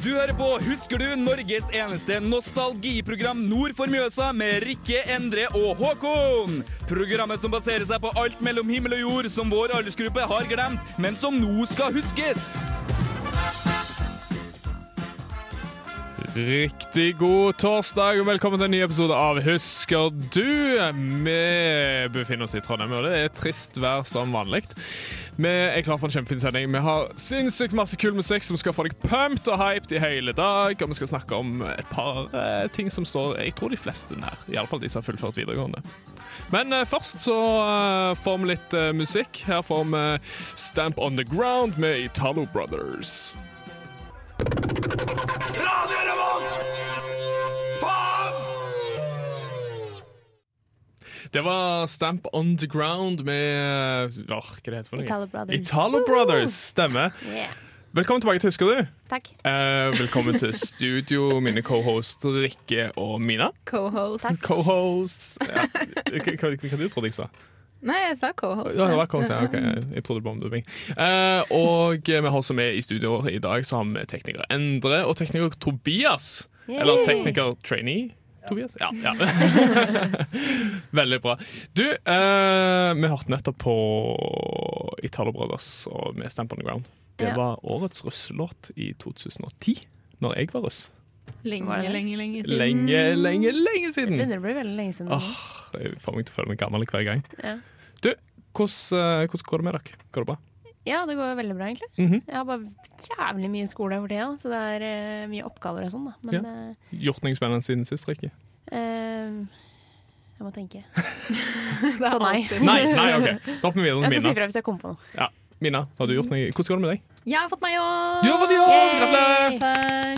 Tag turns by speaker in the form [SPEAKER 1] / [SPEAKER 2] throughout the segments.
[SPEAKER 1] Du hører på Husker du? Norges eneste nostalgiprogram nord for Mjøsa med Rikke, Endre og Håkon. Programmet som baserer seg på alt mellom himmel og jord som vår aldersgruppe har glemt, men som nå skal huskes.
[SPEAKER 2] Riktig god torsdag, og velkommen til en ny episode av Husker du? Vi befinner oss i Trondheim, og det er trist vær som vanlig. Vi er klar for en kjempefin sending. Vi har sinnssykt masse kul musikk som skal få deg pumped og hyped i hele dag. Og vi skal snakke om et par eh, ting som står Jeg tror de fleste nær. Iallfall de som har fullført videregående. Men eh, først så eh, får vi litt eh, musikk. Her får vi eh, Stamp On The Ground med Italo Brothers.
[SPEAKER 3] Radio Revolt! Faen!
[SPEAKER 2] Det var Stamp On The Ground med eh, åh, Hva det heter for noe?
[SPEAKER 4] Italo Brothers.
[SPEAKER 2] Italo Brothers, Stemmer.
[SPEAKER 4] Yeah.
[SPEAKER 2] Velkommen tilbake til Husker du.
[SPEAKER 4] Takk.
[SPEAKER 2] Eh, velkommen til studio, mine co-host Rikke og Mina.
[SPEAKER 5] Co-host.
[SPEAKER 2] Co-host ja. Hva, hva, hva du trodde jeg sa?
[SPEAKER 5] Nei, jeg sa co-host.
[SPEAKER 2] Ja, det var co-host, ja. ok. Jeg trodde det var omdubbing. Eh, og vi har også med i studio i dag så har vi tekniker Endre og tekniker Tobias. Eller tekniker trainee. Tobias? Ja. ja. Veldig bra. Du, eh, vi hørte nettopp på Italo Brothers og med Stamp on the Ground. Det
[SPEAKER 5] Ja.
[SPEAKER 2] var årets russelåt i 2010, når jeg var russ.
[SPEAKER 5] Lenge,
[SPEAKER 4] Var det?
[SPEAKER 5] lenge, lenge siden.
[SPEAKER 2] Lenge, lenge, lenge siden!
[SPEAKER 4] Begynner å bli veldig lenge Ah. siden.
[SPEAKER 2] Åh, Jeg får meg til å føle meg gammel hver gang.
[SPEAKER 4] Ja.
[SPEAKER 2] Du, hvordan, eh, hvordan går det med dere? Går det bra?
[SPEAKER 4] Ja, det går veldig bra, egentlig.
[SPEAKER 2] Mhm.
[SPEAKER 4] Jeg har bare jævlig mye skole for tida, så det er eh, mye oppgaver og sånn, da. Men
[SPEAKER 2] Gjort noe spennende siden sist, Rikke?
[SPEAKER 4] eh, eh, jeg må tenke.
[SPEAKER 5] Det er
[SPEAKER 4] Så Sånn nei.
[SPEAKER 5] alltid-
[SPEAKER 2] Nei, nei, ok. Da hopper vi videre til
[SPEAKER 4] Jeg skal si
[SPEAKER 2] Mina.
[SPEAKER 4] fra hvis jeg kommer på noe.
[SPEAKER 2] Ja, Mina, har du gjort noe? Hvordan går det med deg?
[SPEAKER 5] Jeg har fått meg jobb!
[SPEAKER 2] Du har fått jobb!
[SPEAKER 4] Yay!
[SPEAKER 2] Gratulerer!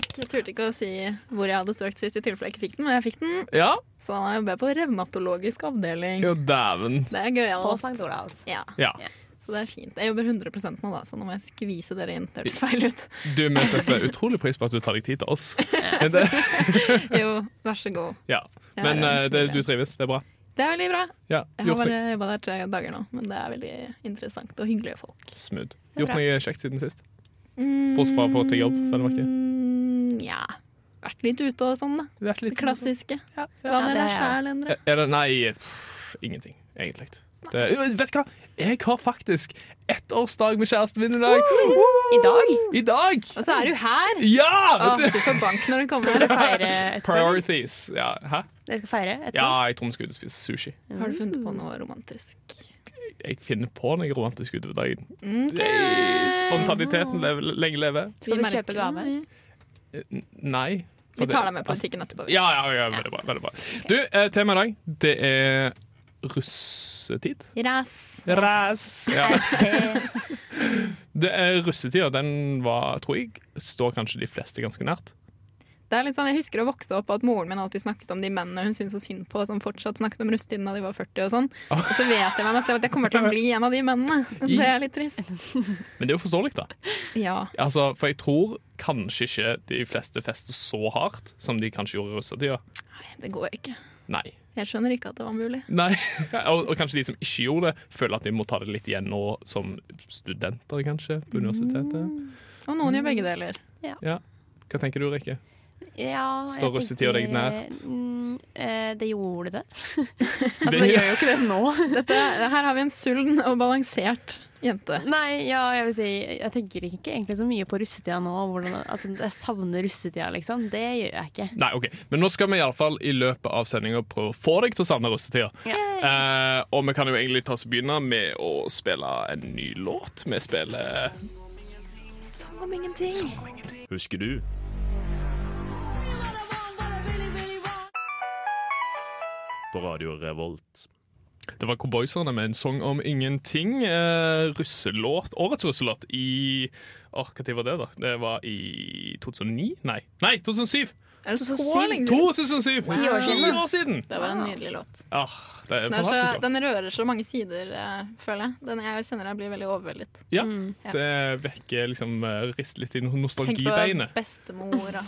[SPEAKER 5] Takk. Jeg turte ikke å si hvor jeg hadde søkt sist, i tilfelle jeg ikke fikk den, men jeg fikk den.
[SPEAKER 2] Ja,
[SPEAKER 5] Så da jobber jeg på revmatologisk avdeling.
[SPEAKER 2] jo dæven.
[SPEAKER 5] Det er gøyalt.
[SPEAKER 4] På altså. St. Olavs.
[SPEAKER 5] Ja,
[SPEAKER 2] Ja.
[SPEAKER 5] så det er fint. Jeg jobber 100 nå, da, så nå må jeg skvise dere inn. Det høres feil ut.
[SPEAKER 2] Du, vi setter utrolig pris på at du tar deg tid til oss. Men det,
[SPEAKER 5] Jo, vær så god.
[SPEAKER 2] ja.
[SPEAKER 5] Ja,
[SPEAKER 2] Men
[SPEAKER 5] det er
[SPEAKER 2] eh, det,
[SPEAKER 5] snill.
[SPEAKER 2] du trives, det er bra.
[SPEAKER 5] Det er veldig bra.
[SPEAKER 2] Ja,
[SPEAKER 5] Jeg har
[SPEAKER 2] gjort noe
[SPEAKER 5] bare jobba der tre dager nå, men det er veldig interessant og hyggelige folk.
[SPEAKER 2] smooth.
[SPEAKER 5] er
[SPEAKER 2] Gjort
[SPEAKER 5] bra.
[SPEAKER 2] noe kjekt siden sist.
[SPEAKER 5] Mm,
[SPEAKER 2] Bortsett fra å få til jobb, vel å merke.
[SPEAKER 5] Ja. Vært litt ute og sånn, da.
[SPEAKER 2] Det er
[SPEAKER 5] Det klassiske.
[SPEAKER 2] sånn.
[SPEAKER 5] Hva
[SPEAKER 4] Ja,
[SPEAKER 5] med
[SPEAKER 4] det er
[SPEAKER 5] deg
[SPEAKER 4] jeg.
[SPEAKER 5] sjæl, Endre?
[SPEAKER 2] Er det Nei, pff, ingenting, egentlig. Det, Jo, vet du hva? Jeg har faktisk ettårsdag med kjæresten min i dag.
[SPEAKER 4] I dag
[SPEAKER 2] I dag!
[SPEAKER 5] Og så er du her!
[SPEAKER 2] Ja!
[SPEAKER 5] Å, du får bank når du kommer
[SPEAKER 4] skal
[SPEAKER 5] her.
[SPEAKER 4] vi feire ettermiddag.
[SPEAKER 2] Priorities. Ja, hæ?
[SPEAKER 4] Dere skal feire ettermiddag?
[SPEAKER 2] Ja, jeg tror vi skal ut og spise sushi.
[SPEAKER 5] Har du funnet på noe romantisk?
[SPEAKER 2] Jeg finner på noe romantisk utover dagen.
[SPEAKER 5] Ok.
[SPEAKER 2] Yay, Spontaniteten leve, lenge leve.
[SPEAKER 4] Skal vi
[SPEAKER 5] merker
[SPEAKER 4] kjøpe gave?
[SPEAKER 5] det.
[SPEAKER 2] Eh, n- Nei.
[SPEAKER 5] Vi tar deg med på butikken etterpå. vi.
[SPEAKER 2] Ja, ja, ja, veldig bra. Veldig bra. Du, eh, tema i dag, det er russetid.
[SPEAKER 5] Ras.
[SPEAKER 2] Ræs! Ja.
[SPEAKER 4] Te.
[SPEAKER 2] Det er russetid, og den var, tror jeg, står kanskje de fleste ganske nært.
[SPEAKER 5] Det er litt sånn, Jeg husker å vokse opp at moren min alltid snakket om de mennene hun syntes så synd på, som fortsatt snakket om russetiden da de var 40 og sånn. Og så vet jeg med meg selv at jeg kommer til å bli en av de mennene. Det er litt trist.
[SPEAKER 2] Men det er jo forståelig, da.
[SPEAKER 5] Ja.
[SPEAKER 2] Altså, for jeg tror kanskje ikke de fleste fester så hardt som de kanskje gjorde i russetida.
[SPEAKER 5] Nei, det går ikke.
[SPEAKER 2] Nei.
[SPEAKER 5] Jeg skjønner ikke at det var mulig.
[SPEAKER 2] Nei. Og, og kanskje de som ikke gjorde det, føler at de må ta det litt igjen nå som studenter, kanskje, på universitetet.
[SPEAKER 5] Og noen gjør begge deler.
[SPEAKER 2] Ja. Hva tenker du, Rikke?
[SPEAKER 4] Ja, jeg
[SPEAKER 2] Står russetida deg
[SPEAKER 4] tenker-
[SPEAKER 2] nært?
[SPEAKER 4] Mm, eh, det gjorde det.
[SPEAKER 2] Det-
[SPEAKER 4] Altså, det gjør jo ikke det nå.
[SPEAKER 5] Dette, her har vi en sulten og balansert jente.
[SPEAKER 4] Nei, ja, jeg vil si Jeg tenker ikke egentlig så mye på russetida nå. Hvordan, at jeg savner russetida, liksom. Det gjør jeg ikke.
[SPEAKER 2] Nei, ok. Men nå skal vi iallfall i løpet av sendinga prøve å få deg til å savne russetida. Eh, og vi kan jo egentlig ta oss og begynne med å spille en ny låt. Vi spiller
[SPEAKER 5] Som om ingenting.
[SPEAKER 3] Husker du? På Radio Revolt.
[SPEAKER 2] Det var Cowboyserne med en sang om ingenting. Eh, russelåt. Årets russelåt i Åh, hva tid var det, da? Det var i 2009? Nei, Nei 2007!
[SPEAKER 5] Er det så
[SPEAKER 4] sykt?
[SPEAKER 5] lenge siden?
[SPEAKER 2] 2007!
[SPEAKER 4] Ti år siden,
[SPEAKER 2] Ti år siden.
[SPEAKER 5] Det var en nydelig låt.
[SPEAKER 2] Ah, det er
[SPEAKER 5] Den, er så,
[SPEAKER 2] fantastisk. da.
[SPEAKER 5] den rører så mange sider, eh, føler jeg. Den jeg kjenner jeg blir veldig overveldet.
[SPEAKER 2] Ja,
[SPEAKER 5] Mm, ja.
[SPEAKER 2] det vekker liksom eh, Rist litt i
[SPEAKER 5] Tenk på
[SPEAKER 2] nostalgibeinet
[SPEAKER 5] bestemora.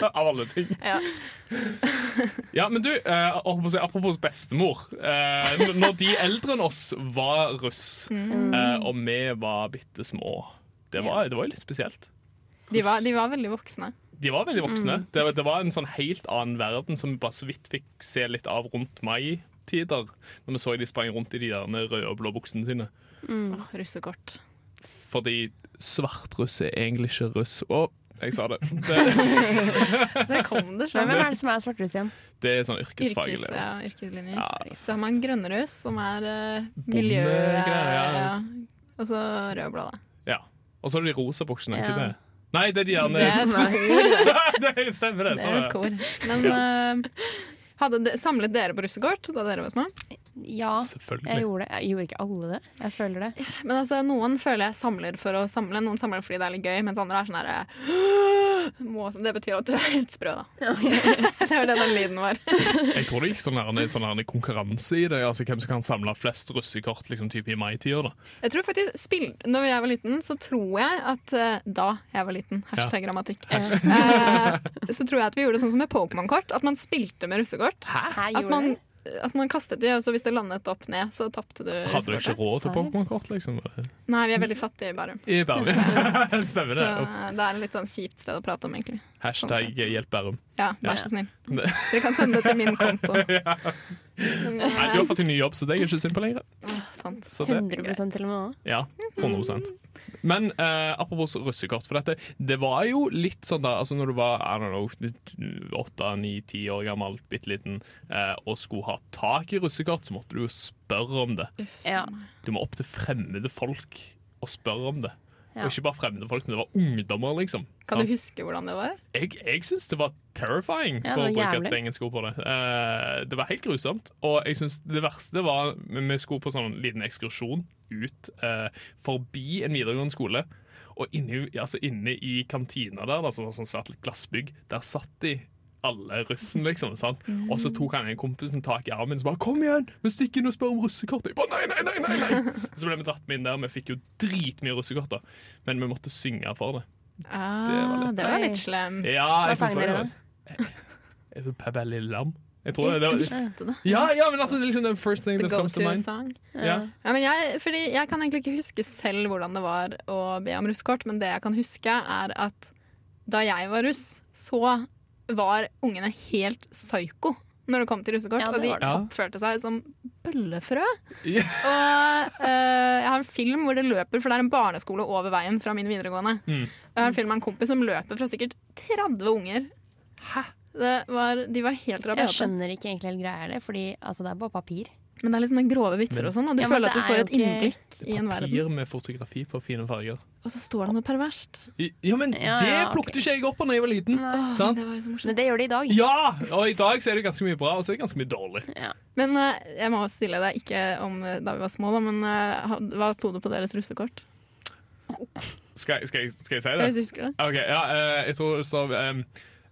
[SPEAKER 2] av alle ting.
[SPEAKER 5] Ja.
[SPEAKER 2] Ja, men du, eh, apropos, apropos bestemor. Eh, n- når de eldre enn oss var
[SPEAKER 5] Mm.
[SPEAKER 2] russ, eh, og vi var bitte små, det var, det var jo litt spesielt.
[SPEAKER 5] De var, de var veldig voksne.
[SPEAKER 2] De var veldig voksne.
[SPEAKER 5] Mm.
[SPEAKER 2] Det, det var en sånn helt annen verden som vi bare så vidt fikk se litt av rundt mai-tider. Når vi så de sprang rundt i de der røde og blå buksene sine.
[SPEAKER 5] Åh, russekort.
[SPEAKER 2] Fordi svartruss er egentlig ikke russ. Å, jeg sa det. det.
[SPEAKER 5] Der kom det
[SPEAKER 4] Men
[SPEAKER 5] sånn.
[SPEAKER 4] hvem er det som er svartrus igjen?
[SPEAKER 2] Det er sånn yrkesfaglig.
[SPEAKER 5] Yrkes, ja, yrkeslinjer.
[SPEAKER 2] Ja.
[SPEAKER 5] Så har man grønnrus, som er uh, miljø...
[SPEAKER 2] Bondegreier, ja.
[SPEAKER 5] ja. Og så rødbladet.
[SPEAKER 2] Ja. Og så er det de rosa buksene.
[SPEAKER 4] Ja.
[SPEAKER 2] Ikke det? Nei, det er de
[SPEAKER 5] Det er,
[SPEAKER 2] gjerne Det stemmer, det.
[SPEAKER 5] det
[SPEAKER 2] sånn
[SPEAKER 5] er et
[SPEAKER 2] er det.
[SPEAKER 5] kor. Men eh, hadde de, samlet dere på russekort da dere var små?
[SPEAKER 4] Ja, jeg
[SPEAKER 2] Selvfølgelig.
[SPEAKER 4] gjorde det. Jeg gjorde ikke alle det. Jeg føler det.
[SPEAKER 5] Men altså, noen føler jeg samler for å samle, noen samler fordi det er litt gøy, mens andre er sånn herre må- Det betyr at du er helt sprø, da. det var det den lyden var.
[SPEAKER 2] Jeg tror det gikk sånn, her, sånn her, konkurranse i det. Altså, hvem som kan samle flest russekort liksom, type i maitida. da.
[SPEAKER 5] Jeg tror faktisk, spill, Når jeg var liten, så tror jeg at eh, Da jeg var liten, hashtag grammatikk. Eh, så tror jeg at vi gjorde det sånn som med Pokémon-kort, at man spilte med russekort.
[SPEAKER 4] Her
[SPEAKER 5] At man, at man kastet de, og så hvis det landet opp ned, så tapte du.
[SPEAKER 2] Hadde dere ikke
[SPEAKER 5] russekortet.
[SPEAKER 2] råd til
[SPEAKER 4] Serr.
[SPEAKER 2] Pokémon-kort, liksom?
[SPEAKER 5] Nei, vi er veldig fattige i Bærum.
[SPEAKER 2] I Bærum.
[SPEAKER 5] Så
[SPEAKER 2] Stemmer det. Uff.
[SPEAKER 5] det er et litt sånn kjipt sted å prate om, egentlig.
[SPEAKER 2] Hashtag
[SPEAKER 5] Sånn
[SPEAKER 2] hjelp Bærum.
[SPEAKER 5] Ja,
[SPEAKER 2] Ja.
[SPEAKER 5] vær så snill.
[SPEAKER 2] Ne-
[SPEAKER 5] Dere kan sende det til min konto. Men,
[SPEAKER 2] Nei, du har fått en ny jobb, så det er jeg ikke synd på lenger.
[SPEAKER 5] åh, sant.
[SPEAKER 2] Så det,
[SPEAKER 4] 100 til og med nå.
[SPEAKER 2] ja, 100 Men eh, apropos russekort, for dette, det var jo litt sånn da altså Når du var I don't know, 8, 9, 10 år gammel, bitte liten, eh, og skulle ha tak i russekort, så måtte du jo spørre om det.
[SPEAKER 4] Ja.
[SPEAKER 2] Du må opp til fremmede folk og spørre om det.
[SPEAKER 4] Ja.
[SPEAKER 2] Og ikke bare fremmede folk, men det var ungdommer, liksom.
[SPEAKER 5] Kan du huske hvordan det var?
[SPEAKER 2] jeg, jeg syns det var terrifying,
[SPEAKER 4] Ja, det
[SPEAKER 2] for å
[SPEAKER 4] var
[SPEAKER 2] bruke
[SPEAKER 4] jævlig.
[SPEAKER 2] et engelsk ord på det. Eh, det var helt grusomt. Og jeg synes det verste var Vi skulle på sånn liten ekskursjon ut eh, forbi en videregående skole. Og inne, i- altså inne i kantina der, da, som var sånn svært glassbygg, der satt de alle russen, liksom. sant? Og så tok han en kompisen tak i armen og så bare 'Kom igjen, vi stikker inn og spør om russekortet'. Jeg bare, nei, nei, nei, nei, nei. Så ble vi dratt med inn der. Vi fikk jo dritmye russekort, da. Men vi måtte synge for det.
[SPEAKER 5] Ah, det var
[SPEAKER 4] Oi.
[SPEAKER 5] litt slem.
[SPEAKER 2] Ja,
[SPEAKER 4] Hva
[SPEAKER 2] jeg
[SPEAKER 4] sang
[SPEAKER 2] synes også
[SPEAKER 4] dere da?
[SPEAKER 2] det. Eh, Er du Peppa Lille Lam? Jeg tror det, det var
[SPEAKER 5] Visste det.
[SPEAKER 2] ja, ja, men altså, det er liksom den first thing
[SPEAKER 5] The
[SPEAKER 2] that comes to mind.
[SPEAKER 5] go-to-sang.
[SPEAKER 2] Ja.
[SPEAKER 4] Eh,
[SPEAKER 5] Ja, men jeg, fordi jeg kan egentlig ikke huske selv hvordan det var å be om russekort, men det jeg kan huske, er at da jeg var russ, så var ungene helt psyko når det kom til russekort.
[SPEAKER 4] Ja, det
[SPEAKER 5] og de
[SPEAKER 4] var
[SPEAKER 2] det.
[SPEAKER 5] oppførte seg som bøllefrø.
[SPEAKER 2] Ja.
[SPEAKER 5] Og eh, jeg har en film hvor det løper, for det er en barneskole over veien fra min videregående.
[SPEAKER 2] Mm.
[SPEAKER 5] Og jeg har en film av en kompis som løper fra sikkert 30 unger. Det var, de var helt
[SPEAKER 4] Jeg
[SPEAKER 5] rabiate.
[SPEAKER 4] skjønner ikke egentlig helt greia det, fordi altså, det er bare papir.
[SPEAKER 5] Men det er litt sånne grove vitser og sånn, og du
[SPEAKER 4] Ja, men
[SPEAKER 5] føler at
[SPEAKER 4] det
[SPEAKER 5] du
[SPEAKER 4] er
[SPEAKER 5] får
[SPEAKER 4] jo
[SPEAKER 5] et
[SPEAKER 4] ikke-
[SPEAKER 5] innblikk i en verden.
[SPEAKER 2] Papir med fotografi på fine farger.
[SPEAKER 5] Og så står det noe perverst.
[SPEAKER 2] I- Ja, men
[SPEAKER 4] Ja,
[SPEAKER 2] det
[SPEAKER 4] ja, ok.
[SPEAKER 2] plukket ikke jeg opp på da jeg var liten.
[SPEAKER 5] Åh,
[SPEAKER 2] Sant?
[SPEAKER 5] Det var jo så morsomt.
[SPEAKER 4] Men det gjør de i dag.
[SPEAKER 2] Ja! Og i dag så er det ganske mye bra, og så er det ganske mye dårlig.
[SPEAKER 5] Men eh, jeg må også stille deg, ikke om eh, da vi var små, da, men eh, ha- hva sto det på deres russekort?
[SPEAKER 2] Skal, jeg- skal, jeg- skal jeg si
[SPEAKER 5] Hvis
[SPEAKER 2] det?
[SPEAKER 5] du husker det?
[SPEAKER 2] Ok, ja, eh, jeg tror det står um,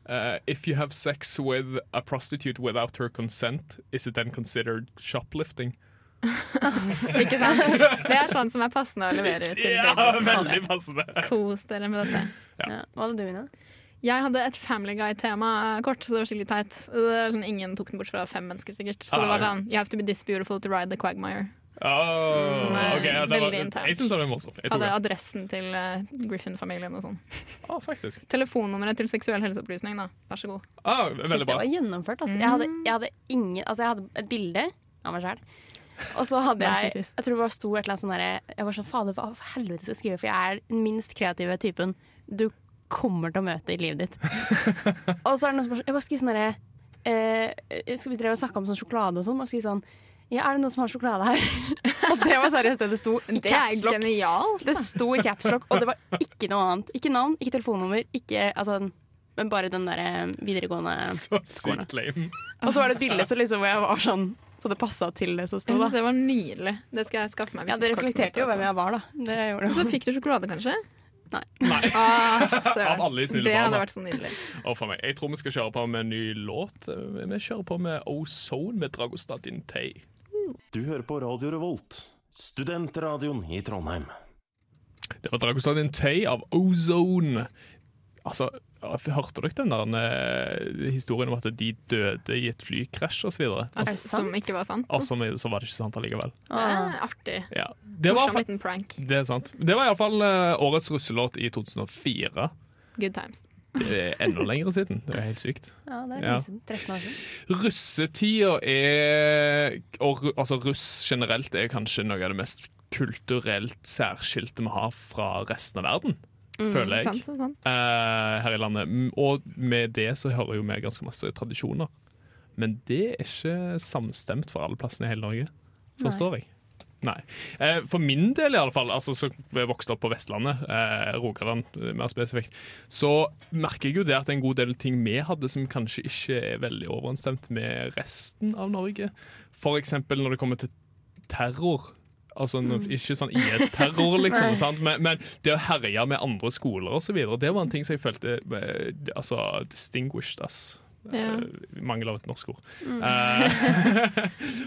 [SPEAKER 2] eh, If you have sex with a prostitute without her consent, is it then considered shoplifting?
[SPEAKER 5] Ikke sant? Det er sånn som er passende å levere til
[SPEAKER 2] Ja,
[SPEAKER 5] dere.
[SPEAKER 2] veldig passende.
[SPEAKER 5] Kos dere med dette.
[SPEAKER 4] Ja. Hva hadde du, Ina?
[SPEAKER 5] Jeg hadde et Family Guy-tema-kort, så det var skikkelig teit. Det var sånn, ingen tok den bort fra fem mennesker, sikkert. Så det
[SPEAKER 2] Ah,
[SPEAKER 5] var
[SPEAKER 2] ja.
[SPEAKER 5] sånn You have to be this beautiful to ride the quagmire.
[SPEAKER 2] Oh,
[SPEAKER 5] Som er
[SPEAKER 2] ok, ja, det var,
[SPEAKER 5] veldig internt.
[SPEAKER 2] jeg syns det var morsomt. Jeg tok
[SPEAKER 5] Hadde
[SPEAKER 2] det.
[SPEAKER 5] adressen til eh, Griffin-familien og sånn.
[SPEAKER 2] Ah, faktisk.
[SPEAKER 5] Telefonnummeret til seksuell helseopplysning, da. Vær så god.
[SPEAKER 2] Ah, veldig
[SPEAKER 4] Shit, Det
[SPEAKER 2] bra.
[SPEAKER 4] var gjennomført. Altså. Jeg, hadde, jeg hadde ingen Altså, jeg hadde et bilde av meg sjæl. Og så hadde jeg
[SPEAKER 5] Narsissist.
[SPEAKER 4] Jeg tror det bare sto et eller annet sånn derre Jeg var sånn Fader, hva for helvete skal jeg skrive? For jeg er den minst kreative typen du kommer til å møte i livet ditt. og så er det noen som bare sånn- Jeg bare skriver sånn derre eh, Skal vi drev og snakke om sånn sjokolade og sånn? Og skrive sånn Ja, er det noen som har sjokolade her? og det var seriøst det det sto. i caps lock.
[SPEAKER 5] genialt!
[SPEAKER 4] Det sto i caps lock, og det var ikke noe annet. Ikke navn, ikke telefonnummer, ikke altså, Men bare den derre videregående
[SPEAKER 2] Så sykt lame.
[SPEAKER 4] og så var det et bilde så liksom, hvor jeg var sånn Så det passa til det som sto,
[SPEAKER 5] Jeg synes
[SPEAKER 4] da.
[SPEAKER 5] det var nydelig. Det skal jeg skaffe meg.
[SPEAKER 4] Ja, det reflekterte jo hvem jeg var, da. Det gjorde
[SPEAKER 5] Så
[SPEAKER 4] det.
[SPEAKER 5] fikk du sjokolade, kanskje?
[SPEAKER 2] Nei.
[SPEAKER 5] Ah,
[SPEAKER 2] Av alle de snille
[SPEAKER 5] det
[SPEAKER 2] barna.
[SPEAKER 5] hadde vært så nydelig.
[SPEAKER 2] Å, for meg. Jeg tror vi skal kjøre på med en ny låt. Eh, Vi kjører på med Ozone med Dragostatin Tay.
[SPEAKER 6] Du hører på Radio Revolt, studentradioen i Trondheim.
[SPEAKER 2] Det var Dragostatin Tay av Ozone. Altså, ja, hørte dere den der eh, historien om at de døde i et flykrasj osv.?
[SPEAKER 5] At,
[SPEAKER 4] det sant?
[SPEAKER 5] som ikke var sant.
[SPEAKER 2] Og så så var det ikke sant allikevel.
[SPEAKER 5] Det er artig.
[SPEAKER 2] Ja. Det var
[SPEAKER 5] Morsom
[SPEAKER 2] fa-
[SPEAKER 5] liten prank.
[SPEAKER 2] eh, Det er sant. Det var iallfall uh, årets russelåt i 2004.
[SPEAKER 5] Good times.
[SPEAKER 2] Det er enda lengre siden. Det er helt sykt.
[SPEAKER 4] Ja, det er
[SPEAKER 2] Ja.
[SPEAKER 4] lenge siden. 13 år siden.
[SPEAKER 2] Russetida er og, ru- Altså russ generelt er kanskje noe av det mest kulturelt særskilte vi har fra resten av verden, føler jeg.
[SPEAKER 5] Mm, Sant, sant, sant.
[SPEAKER 2] eh, her i landet. M- Og med det så hører jo vi ganske masse tradisjoner. Men det er ikke samstemt for alle plassene i hele Norge, forstår jeg. Nei. Eh, For min del, i alle fall, altså som jeg vokste opp på Vestlandet, eh, Rogaland eh, mer spesifikt, så merker jeg jo det at det er en god del ting vi hadde som kanskje ikke er veldig overensstemt med resten av Norge. For eksempel når det kommer til terror. Altså, nå- Ikke sånn IS-terror, liksom, sant? Men, men det å herje med andre skoler osv., det var en ting som jeg følte eh, altså, distinguished us.
[SPEAKER 5] Ja.
[SPEAKER 2] Eh, Mangel av et norsk ord. Eh,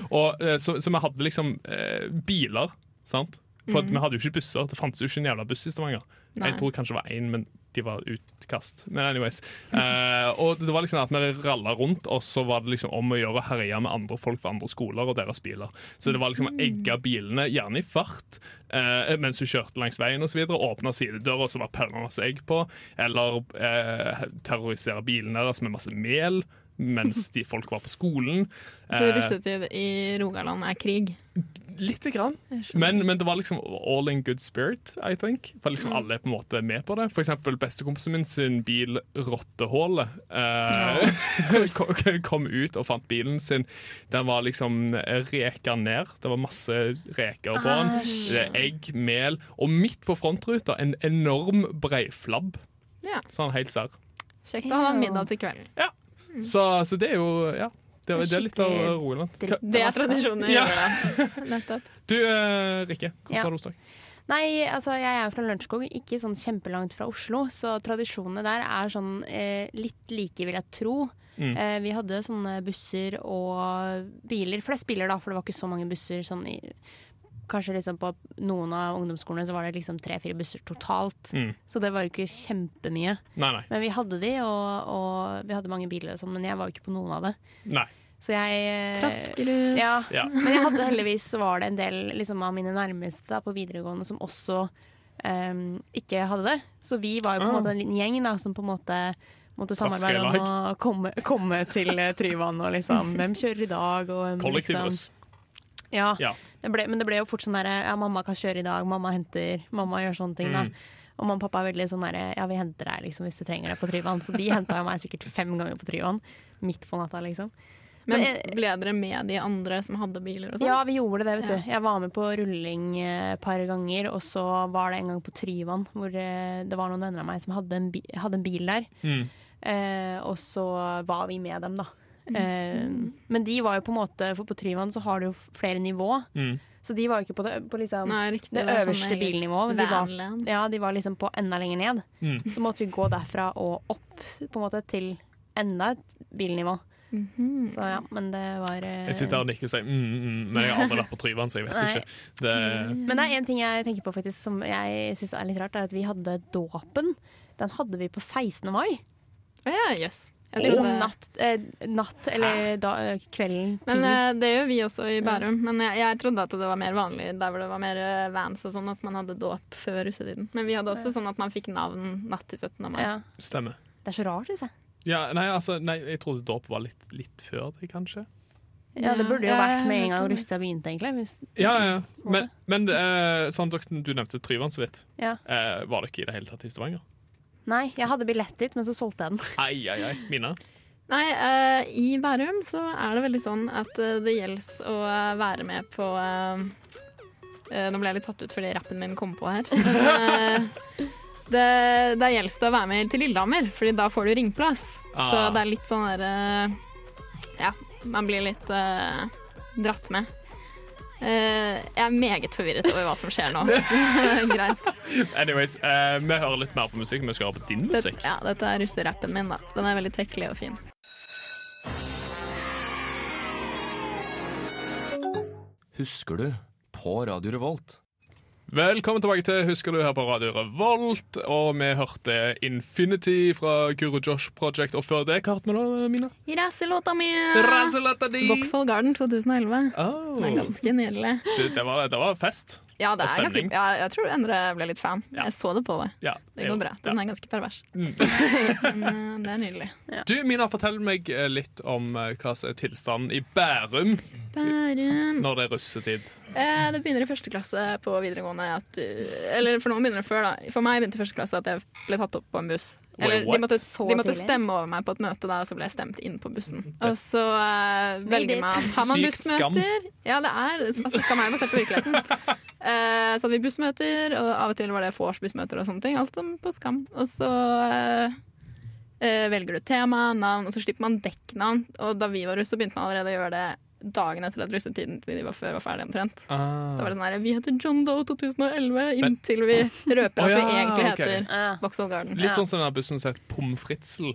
[SPEAKER 2] og, eh, så, så vi hadde liksom eh, biler, sant? For at vi hadde jo ikke busser. Det fantes jo ikke en jævla buss i Stavanger.
[SPEAKER 5] Nei.
[SPEAKER 2] Jeg tror kanskje det var én, men de var utkast. Men anyways. Eh, og det var liksom at vi ralla rundt, og så var det liksom om å gjøre å herje med andre folk fra andre skoler og deres biler. Så det var liksom å egge bilene, gjerne i fart, eh, mens du kjørte langs veien osv. Åpna sidedøra, og så var pølla masse egg på. Eller eh, terrorisere bilene deres med masse mel. Mens de folk var på skolen.
[SPEAKER 5] Så
[SPEAKER 2] Eh,
[SPEAKER 5] russetid i Rogaland er krig.
[SPEAKER 2] Lite grann.
[SPEAKER 5] Jeg skjønner.
[SPEAKER 2] Men, men det var liksom all in good spirit, I think. For liksom alle er på en måte med på det. For eksempel bestekompisen min sin bil Rottehålet eh, kom- kom ut og fant bilen sin. Den var liksom reka ned. Det var masse reker på den. Det er egg, mel. Og midt på frontruta en enorm breiflabb.
[SPEAKER 5] Ja.
[SPEAKER 2] Sånn helt sær.
[SPEAKER 5] Kjekt å ha en middag til kvelden.
[SPEAKER 2] Så, så det er jo Ja. Det,
[SPEAKER 4] Det er
[SPEAKER 2] det er litt av
[SPEAKER 4] skikkelig
[SPEAKER 2] Rogaland.
[SPEAKER 4] Dritt av
[SPEAKER 5] Det er
[SPEAKER 4] oss, da.
[SPEAKER 5] tradisjonen i
[SPEAKER 2] Ja.
[SPEAKER 5] Rogaland. Nettopp.
[SPEAKER 2] Du, eh, Rikke. Hvordan
[SPEAKER 4] Ja.
[SPEAKER 2] var det hos deg?
[SPEAKER 4] Nei, altså jeg er jo fra Lørenskog, ikke sånn kjempelangt fra Oslo, så tradisjonene der er sånn eh, litt like, vil jeg tro.
[SPEAKER 2] Mm.
[SPEAKER 4] Eh, vi hadde sånne busser og biler, flest biler da, for det var ikke så mange busser sånn i Kanskje liksom på noen av ungdomsskolene så var det liksom tre-fire busser totalt.
[SPEAKER 2] Mm.
[SPEAKER 4] Så det var jo ikke kjempemye.
[SPEAKER 2] Nei, nei.
[SPEAKER 4] Men vi hadde de, og, og vi hadde mange biler og sånn, men jeg var jo ikke på noen av det.
[SPEAKER 2] nei.
[SPEAKER 4] Så jeg eh,
[SPEAKER 5] Traskerus.
[SPEAKER 4] Ja.
[SPEAKER 2] Ja.
[SPEAKER 4] Men jeg hadde heldigvis så var det en del liksom, av mine nærmeste da, på videregående som også em, ikke hadde det. Så vi var jo på en
[SPEAKER 2] Ah.
[SPEAKER 4] måte en liten gjeng da, som på en måte måtte samarbeide om å
[SPEAKER 2] Traskelag.
[SPEAKER 4] komme, komme til eh, Tryvann og liksom Hvem kjører i dag? Og, hvem,
[SPEAKER 2] Kollektivbuss.
[SPEAKER 4] Liksom, ja.
[SPEAKER 2] Ja.
[SPEAKER 4] Det ble, men det ble jo fort sånn derre ja, mamma kan kjøre i dag, mamma henter, mamma gjør sånne ting. da.
[SPEAKER 2] Mm.
[SPEAKER 4] Og mamma og pappa er veldig sånn derre ja, vi henter deg liksom, hvis du trenger det på Tryvann. Så de henta meg sikkert fem ganger på Tryvann. Midt på natta, liksom.
[SPEAKER 5] Men
[SPEAKER 4] Men, eh,
[SPEAKER 5] ble dere med de andre som hadde biler og sånn?
[SPEAKER 4] Ja, vi gjorde det, vet
[SPEAKER 5] Ja.
[SPEAKER 4] du. Jeg var med på rulling eh, et par ganger, og så var det en gang på Tryvann, hvor eh, det var noen venner av meg som hadde en, bi hadde en bil der.
[SPEAKER 2] Mm.
[SPEAKER 4] Eh, og så var vi med dem, da.
[SPEAKER 5] Mm.
[SPEAKER 4] Eh, men de var jo på en måte For på Tryvann så har du jo flere nivå,
[SPEAKER 2] Mm.
[SPEAKER 4] så de var jo ikke på det, på liksom,
[SPEAKER 5] Nei, riktig.
[SPEAKER 4] det,
[SPEAKER 5] er
[SPEAKER 4] øverste
[SPEAKER 5] sånn eget
[SPEAKER 4] bilnivået. men De var,
[SPEAKER 5] vanland.
[SPEAKER 4] ja, de var liksom på enda lenger ned.
[SPEAKER 2] Mm.
[SPEAKER 4] Så måtte vi gå derfra og opp, på en måte, til enda et bilnivå.
[SPEAKER 5] Mhm.
[SPEAKER 4] Så ja, men det var eh,
[SPEAKER 2] Jeg sitter her og nikker og sier mm, mm, men jeg har aldri vært på Tryvann, så jeg vet
[SPEAKER 4] Nei.
[SPEAKER 2] ikke. Det,
[SPEAKER 4] Men det er en ting jeg tenker på faktisk som jeg synes er litt rart, er at vi hadde dåpen. Den hadde vi på 16. mai.
[SPEAKER 5] Å ja, jøss. Jeg
[SPEAKER 4] Liksom
[SPEAKER 5] trodde-
[SPEAKER 4] natt, eh, natt eller da, eh, kvelden til.
[SPEAKER 5] Men eh, det gjør vi også i Bærum. Men jeg, jeg trodde at det var mer vanlig der hvor det var mer eh, vans og sånn, at man hadde dåp før russetiden. Men vi hadde også sånn at man fikk navn natt til 17. mai.
[SPEAKER 4] ja.
[SPEAKER 2] Stemmer.
[SPEAKER 4] Det er så rart, synes jeg.
[SPEAKER 2] Ja, nei, altså, nei, jeg trodde dåp var litt, litt før det, kanskje.
[SPEAKER 4] Ja, det burde jo
[SPEAKER 5] Ja,
[SPEAKER 4] vært med
[SPEAKER 5] jeg
[SPEAKER 4] en gang
[SPEAKER 5] hørte om det.
[SPEAKER 4] Rusta begynte, egentlig. Hvis,
[SPEAKER 2] Ja, ja. Men, men eh, sånn, dere- du nevnte Tryvann så vidt.
[SPEAKER 4] Ja.
[SPEAKER 2] Eh, var det ikke i det hele tatt i Stavanger?
[SPEAKER 4] nei, jeg hadde billett dit, men så solgte jeg den.
[SPEAKER 2] Ai, ai, ai. Mina?
[SPEAKER 5] Nei, eh, i Bærum så er det veldig sånn at eh, det gjelder å eh, være med på eh, eh, Nå ble jeg litt satt ut fordi rappen min kom på her. Men, eh, det, det gjelder det å være med til Lillehammer, Fordi da får du ringplass. Så
[SPEAKER 2] Ah.
[SPEAKER 5] det er litt sånn derre Ja, man blir litt eh, dratt med. Eh, jeg er meget forvirret over hva som skjer nå. Greit.
[SPEAKER 2] Anyways, eh, vi hører litt mer på musikk. Vi skal høre på din
[SPEAKER 5] Det,
[SPEAKER 2] musikk.
[SPEAKER 5] ja, dette er russerappen min, da. Den er veldig tekkelig og fin.
[SPEAKER 7] Husker du? På Radio Revolt.
[SPEAKER 2] Velkommen tilbake til Husker du her på Radio Revolt. Og vi hørte Infinity fra Guru Josh Project. Og før det, hva hørte vi da, Mina?
[SPEAKER 5] Rasselåta mi!
[SPEAKER 2] Razzalata di!
[SPEAKER 5] Mm. Vauxhall Garden 2011.
[SPEAKER 2] Oh,
[SPEAKER 5] altså. Den er ganske nydelig.
[SPEAKER 2] det, det, var, det var fest.
[SPEAKER 5] Ja,
[SPEAKER 2] Og
[SPEAKER 5] det er ganske,
[SPEAKER 2] stemning.
[SPEAKER 5] ja, jeg tror Endre ble litt fan.
[SPEAKER 2] Ja.
[SPEAKER 5] Jeg så det på deg.
[SPEAKER 2] Ja, Mm.
[SPEAKER 5] Det går
[SPEAKER 2] jo,
[SPEAKER 5] bra. Den er ganske pervers. Men eh, det er nydelig.
[SPEAKER 2] Ja. Du, Mina, fortell meg eh, litt om eh, hva som er tilstanden i Bærum
[SPEAKER 5] Bærum.
[SPEAKER 2] når det er russetid.
[SPEAKER 5] Eh, det begynner i første klasse på videregående at du Eller for noen begynner det før, da. For meg begynte i første klasse at jeg ble tatt opp på en buss.
[SPEAKER 2] Wait,
[SPEAKER 5] Eller de
[SPEAKER 2] what?
[SPEAKER 5] måtte,
[SPEAKER 4] Så
[SPEAKER 5] de måtte
[SPEAKER 4] tidlig?
[SPEAKER 5] stemme over meg på et møte, da, og så ble jeg stemt inn på bussen. Og så eh,
[SPEAKER 4] Made
[SPEAKER 5] velger
[SPEAKER 4] it.
[SPEAKER 5] man Har man
[SPEAKER 2] Mm, Sykt skam.
[SPEAKER 5] bussmøter? Ja, det er altså, skam er jo basert på virkeligheten. Eh, så hadde vi bussmøter, og av og til var det vorsbussmøter og sånne ting. Alt om på skam. Og så eh, eh, velger du tema, navn, og så slipper man dekknavn. Og da vi var russ, så begynte man allerede å gjøre det dagen etter at russetiden til de var før var ferdig omtrent.
[SPEAKER 2] Mm. Ah.
[SPEAKER 5] Så var det sånn her Vi heter John Doe 2011 inntil vi røper at
[SPEAKER 2] Å
[SPEAKER 5] vi
[SPEAKER 2] ja,
[SPEAKER 5] egentlig
[SPEAKER 2] ok.
[SPEAKER 5] heter
[SPEAKER 4] Ja.
[SPEAKER 5] Vauxhall Garden.
[SPEAKER 2] Litt sånn som den bussen som het Pommes Fritzl.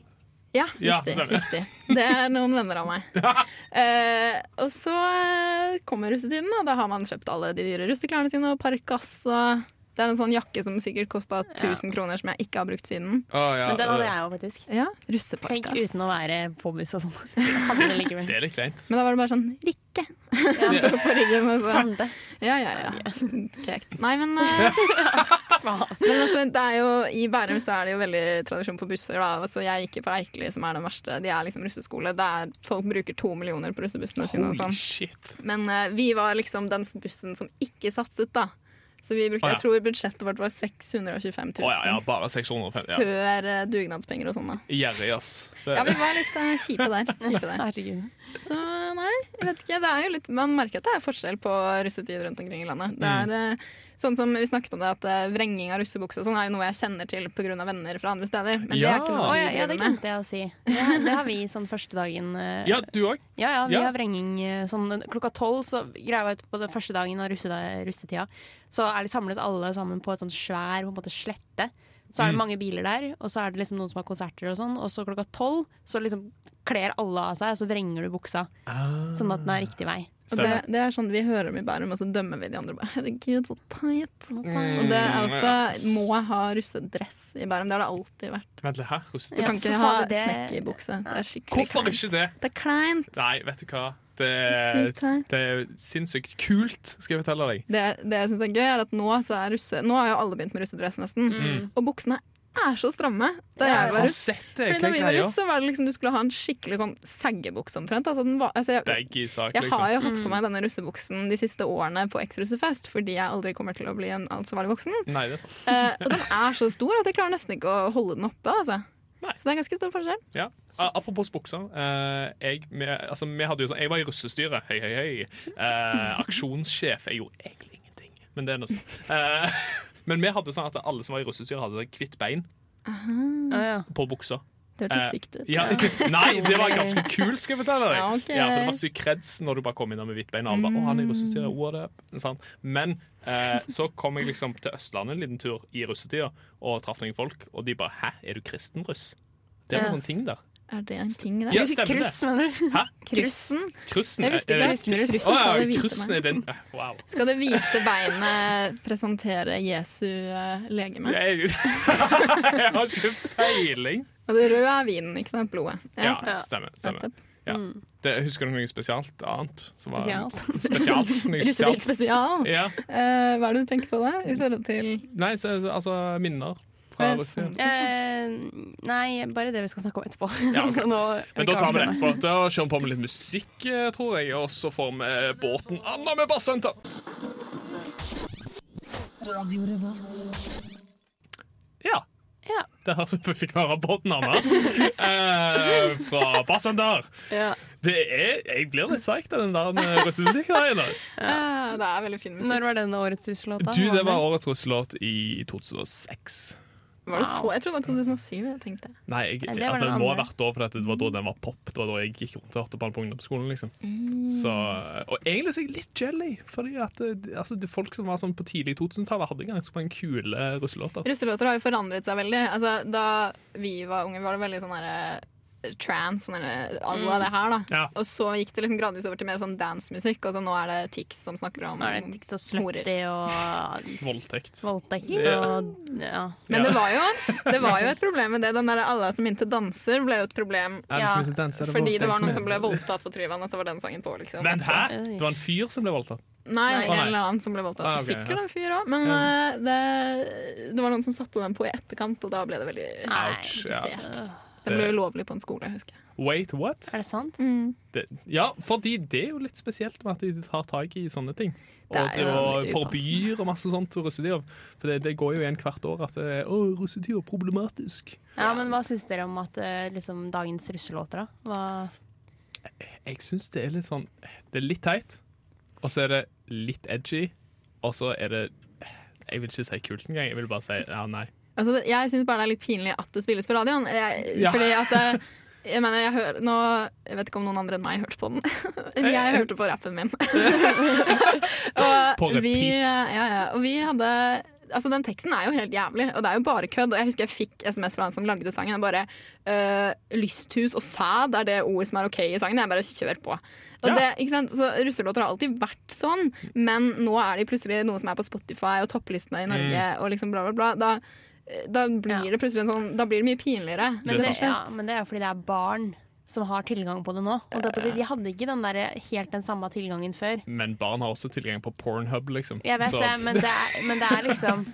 [SPEAKER 5] Ja,
[SPEAKER 2] Ja,
[SPEAKER 5] riktig.
[SPEAKER 2] stemmer.
[SPEAKER 5] riktig. Det er noen venner av meg. Eh, og så eh, kommer russetiden, og da har man kjøpt alle de dyre russeklærne sine og parkas og Det er en sånn jakke som sikkert kosta 1000 kroner, som jeg ikke har brukt siden.
[SPEAKER 2] Å, ja,
[SPEAKER 4] Men den hadde
[SPEAKER 2] eh,
[SPEAKER 4] jeg jo faktisk.
[SPEAKER 5] Ja,
[SPEAKER 4] Tenk
[SPEAKER 5] russeparkas.
[SPEAKER 4] uten å være på buss og sånn. Hadde det likevel.
[SPEAKER 2] Det er litt kleint.
[SPEAKER 5] Men da var det bare sånn Rikke! Stå på ryggen og så
[SPEAKER 4] Sande.
[SPEAKER 5] Ja, ja, ja. Korrekt. Nei, men, eh, men altså, det er jo, I Bærum så er det jo veldig tradisjon på busser. Da. Altså, jeg gikk jo på Eikeli, som er den verste. De er liksom russeskole. Det er, folk bruker to millioner på russebussene sine. og
[SPEAKER 2] Holy
[SPEAKER 5] sånn.
[SPEAKER 2] shit.
[SPEAKER 5] Men eh, vi var liksom den bussen som ikke satset, da. Så vi brukte,
[SPEAKER 2] Å, ja.
[SPEAKER 5] jeg tror budsjettet vårt var 625 000
[SPEAKER 2] Å ja, ja, bare 650. Ja.
[SPEAKER 5] før eh, dugnadspenger og sånn. da.
[SPEAKER 2] Gjerrig, ass. Det,
[SPEAKER 5] Ja, vi var litt eh, kjipe der. Kjipe der.
[SPEAKER 4] Herregud.
[SPEAKER 5] Så nei, jeg vet ikke. Det er jo litt, man merker at det er forskjell på russetid rundt omkring i landet. Det er
[SPEAKER 4] Mm.
[SPEAKER 5] eh, sånn som Vi snakket om det at eh, vrenging av russebukse og sånn er jo noe jeg kjenner til pga. venner fra andre steder. Men det
[SPEAKER 2] Ja.
[SPEAKER 5] er ikke noe
[SPEAKER 4] Å,
[SPEAKER 5] vi
[SPEAKER 4] ja, ja, det
[SPEAKER 5] driver med.
[SPEAKER 4] glemte jeg å si. Det har, det har vi sånn første dagen eh,
[SPEAKER 2] ja du òg?
[SPEAKER 4] Ja, ja, vi
[SPEAKER 2] Ja.
[SPEAKER 4] har vrenging eh, sånn klokka tolv. Så greia var at på den første dagen av russeda, russetida så er de samles alle sammen på et sånn svær på en måte, slette. Så
[SPEAKER 2] Mm.
[SPEAKER 4] er det mange biler der, og så er det liksom noen som har konserter og sånn. Og så klokka tolv så liksom kler alle av seg, og så vrenger du buksa.
[SPEAKER 2] Ah.
[SPEAKER 4] Sånn at den er riktig vei.
[SPEAKER 5] Og det, det er sånn, Vi hører om i Bærum, og så dømmer vi de andre. bare, Herregud, så teit. Og det
[SPEAKER 2] Mm.
[SPEAKER 4] Mm,
[SPEAKER 5] er altså- også Må ha russedress i Bærum. Det har det alltid vært.
[SPEAKER 2] Vent litt, hæ? Russetid?
[SPEAKER 5] Du kan
[SPEAKER 4] så
[SPEAKER 5] ikke ha
[SPEAKER 4] farlig det-
[SPEAKER 5] snekkerbukse. Det er skikkelig
[SPEAKER 2] Hvorfor
[SPEAKER 5] kleint.
[SPEAKER 2] ikke det?
[SPEAKER 5] Det er kleint.
[SPEAKER 2] Nei, vet du hva. Det,
[SPEAKER 5] Sykt teit.
[SPEAKER 2] det er sinnssykt kult, skal jeg fortelle deg.
[SPEAKER 5] Det, det jeg synes er gøy, er at nå, så er russe, nå har jo alle begynt med russedress, nesten.
[SPEAKER 2] Mm.
[SPEAKER 5] Og buksene er så stramme.
[SPEAKER 4] Ja,
[SPEAKER 5] Da jeg
[SPEAKER 2] Har
[SPEAKER 5] var
[SPEAKER 2] du
[SPEAKER 5] russ.
[SPEAKER 2] sett det?
[SPEAKER 5] Fordi
[SPEAKER 2] Hva
[SPEAKER 5] da vi var
[SPEAKER 2] er greia?
[SPEAKER 5] russ, så var det liksom du skulle ha en skikkelig sånn seggebukse omtrent. Altså, den var, altså, jeg,
[SPEAKER 2] Begge sak,
[SPEAKER 5] jeg
[SPEAKER 2] liksom.
[SPEAKER 5] har jo hatt på
[SPEAKER 4] Mm.
[SPEAKER 5] meg denne russebuksen de siste årene på eks-russefest fordi jeg aldri kommer til å bli en ansvarlig voksen.
[SPEAKER 2] Nei, det er sant.
[SPEAKER 5] Eh, og den er så stor at jeg klarer nesten ikke å holde den oppe. Altså. Så det er ganske stor forskjell.
[SPEAKER 2] Ja. A- Apropos bukser. eh, jeg, vi, altså, vi hadde jo sånn, jeg var i russestyret. Hei, hei, hei. Eh, aksjonssjef er jo egentlig ingenting, men det er noe sånn. Eh, men vi hadde sånn at alle som var i russestyret, hadde sånn hvitt bein på buksa.
[SPEAKER 5] Det hørtes
[SPEAKER 2] Eh,
[SPEAKER 5] stygt ut.
[SPEAKER 2] Ja. Nei, det var ganske kult, skal jeg fortelle deg.
[SPEAKER 5] Ja, ok.
[SPEAKER 2] for det var sykt kreds når du bare kom inn der med hvitt bein. Og alle bare, å, han er i russestyret, what up? Sant? Men eh, så kom jeg liksom til Østlandet en liten tur i russetida og traff noen folk, og de bare Hæ, er du kristen russ? Det er
[SPEAKER 4] Ja.
[SPEAKER 2] noen sånne ting der.
[SPEAKER 5] Er det en ting der?
[SPEAKER 2] Ja, stemmer det.
[SPEAKER 4] Kryss, mener du?
[SPEAKER 2] Hæ?
[SPEAKER 5] Krussen?
[SPEAKER 2] Krussen?
[SPEAKER 5] Jeg visste ikke at
[SPEAKER 2] er- er-
[SPEAKER 5] krussen
[SPEAKER 2] Å,
[SPEAKER 5] sa det
[SPEAKER 2] ja,
[SPEAKER 5] hvite
[SPEAKER 2] krussen
[SPEAKER 5] meg.
[SPEAKER 2] er den eh, Wow.
[SPEAKER 5] Skal det hvite beinet presentere Jesu eh, legeme?
[SPEAKER 2] Jeg, jeg har ikke peiling.
[SPEAKER 5] Og det røde Altså, er vinen, ikke sant? Blodet.
[SPEAKER 2] Ja, stemmer. stemmer.
[SPEAKER 5] Nettopp. Mm.
[SPEAKER 2] Ja. Det, husker du noe spesialt annet? Som var,
[SPEAKER 5] Spesialt.
[SPEAKER 2] spesialt? Noe
[SPEAKER 5] Russetid
[SPEAKER 2] spesialt?
[SPEAKER 5] spesial.
[SPEAKER 2] Ja.
[SPEAKER 5] Eh, hva er det du tenker på da? I forhold til
[SPEAKER 2] Nei, så, altså minner fra
[SPEAKER 5] Ja,
[SPEAKER 2] russetida.
[SPEAKER 5] sånn.
[SPEAKER 4] Eh, nei, bare det vi skal snakke om etterpå.
[SPEAKER 2] Ja, ok.
[SPEAKER 4] Så nå
[SPEAKER 2] Men da tar vi det etterpå. Da kjører vi på med litt musikk, eh, tror jeg. Og så får vi eh, båten Anna med basshunter. Ja.
[SPEAKER 4] Ja.
[SPEAKER 2] Det her som vi fikk være båten Anna eh, fra basshunter.
[SPEAKER 4] Ja.
[SPEAKER 2] Det er Jeg blir litt psyched av den der med russemusikken.
[SPEAKER 5] Eh, Det er veldig fin musikk.
[SPEAKER 4] Når var denne årets russelåt? da?
[SPEAKER 2] Du, det var årets russelåt i 2006.
[SPEAKER 5] Var det så? Jeg tror det var 2007 jeg tenkte.
[SPEAKER 2] Nei, jeg,
[SPEAKER 4] Det
[SPEAKER 2] det,
[SPEAKER 4] var
[SPEAKER 2] altså,
[SPEAKER 4] den
[SPEAKER 2] det må ha
[SPEAKER 4] andre.
[SPEAKER 2] vært da, for dette, det var da den var pop. Det var da jeg gikk rundt og hørte på den på ungdomsskolen. liksom. Så, og egentlig så er jeg litt jelly, fordi at eh, altså, det, folk som var sånn på tidlig 2000-tallet, hadde ganske mange kule russelåter.
[SPEAKER 5] Russelåter har jo forandret seg veldig. Altså, da vi var unge, var det veldig sånn herre trans eller alle det her, da.
[SPEAKER 2] Mm. Ja.
[SPEAKER 5] Og så gikk det liksom gradvis over til mer sånn dancemusikk, og så nå er det Tix som snakker om
[SPEAKER 4] Nå er det ikke så slutty og
[SPEAKER 2] Voldtekt.
[SPEAKER 4] voldtekt
[SPEAKER 2] Ja.
[SPEAKER 4] og ja.
[SPEAKER 5] Men
[SPEAKER 2] Ja.
[SPEAKER 5] det, var jo, det var jo et problem med det. Den der alle som ikke danser, ble jo et problem.
[SPEAKER 2] Er det
[SPEAKER 4] Ja,
[SPEAKER 2] som heter danser, er
[SPEAKER 5] Fordi det
[SPEAKER 2] voldtekt
[SPEAKER 5] var
[SPEAKER 2] som
[SPEAKER 5] noen som ble
[SPEAKER 2] heter-
[SPEAKER 5] voldtatt på Tryvann, og så var den sangen på, liksom.
[SPEAKER 2] Vent, hæ? Det var en fyr som ble voldtatt?
[SPEAKER 5] Nei,
[SPEAKER 4] Nei.
[SPEAKER 5] en eller annen som ble voldtatt.
[SPEAKER 2] Ah, ok, ja.
[SPEAKER 5] Sikkert en fyr òg, men eh, det, det var noen som satte den på i etterkant, og da ble det veldig
[SPEAKER 2] Ouch, ja.
[SPEAKER 5] kritisert. Den ble ulovlig på en skole, husker jeg.
[SPEAKER 2] Wait, what?
[SPEAKER 4] Er det sant?
[SPEAKER 2] Det, ja, fordi det er jo litt spesielt med at de tar tak i sånne ting. Og,
[SPEAKER 5] Det er jo
[SPEAKER 2] og
[SPEAKER 5] litt
[SPEAKER 2] forbyr og masse sånt til russetida. For det, det går jo igjen hvert år at det er, Å, russetida er problematisk.
[SPEAKER 4] Ja, men hva syns dere om at eh, liksom, dagens russelåter, da? Hva
[SPEAKER 2] Jeg syns det er litt sånn Det er litt teit, og så er det litt edgy, og så er det Jeg vil ikke si kult engang. Jeg vil bare si ja, nei.
[SPEAKER 5] Altså, det- jeg syns bare det er litt pinlig at det spilles på radioen. Jeg,
[SPEAKER 2] Ja.
[SPEAKER 5] Fordi at eh, jeg mener, jeg, hører, nå, jeg vet ikke om noen andre enn meg hørte på den. Men
[SPEAKER 2] Eh,
[SPEAKER 5] jeg hørte på rappen min. og
[SPEAKER 2] På repeat.
[SPEAKER 5] Vi, ja, ja, og vi hadde Altså, Den teksten er jo helt jævlig, og det er jo bare kødd. Og Jeg husker jeg fikk SMS fra han som lagde sangen. og Bare eh, 'Lysthus og sæd' er det ord som er OK i sangen. Jeg bare kjør på. Og
[SPEAKER 2] Ja.
[SPEAKER 5] det, ikke sant? Så Russelåter har alltid vært sånn, men nå er de plutselig noe som er på Spotify og topplistene i Norge.
[SPEAKER 2] Mm.
[SPEAKER 5] og liksom bla bla bla da, da blir
[SPEAKER 4] Ja.
[SPEAKER 5] det plutselig en sånn Da blir det mye pinligere.
[SPEAKER 4] Men
[SPEAKER 2] Det
[SPEAKER 4] det,
[SPEAKER 2] er
[SPEAKER 4] ja, men det er jo fordi det er barn som har tilgang på det nå. Og det er på å si, de hadde ikke den der, eh, helt den samme tilgangen før.
[SPEAKER 2] Men barn har også tilgang på Pornhub, liksom.
[SPEAKER 4] Jeg vet
[SPEAKER 2] Så-
[SPEAKER 4] det, men det, er, men det er liksom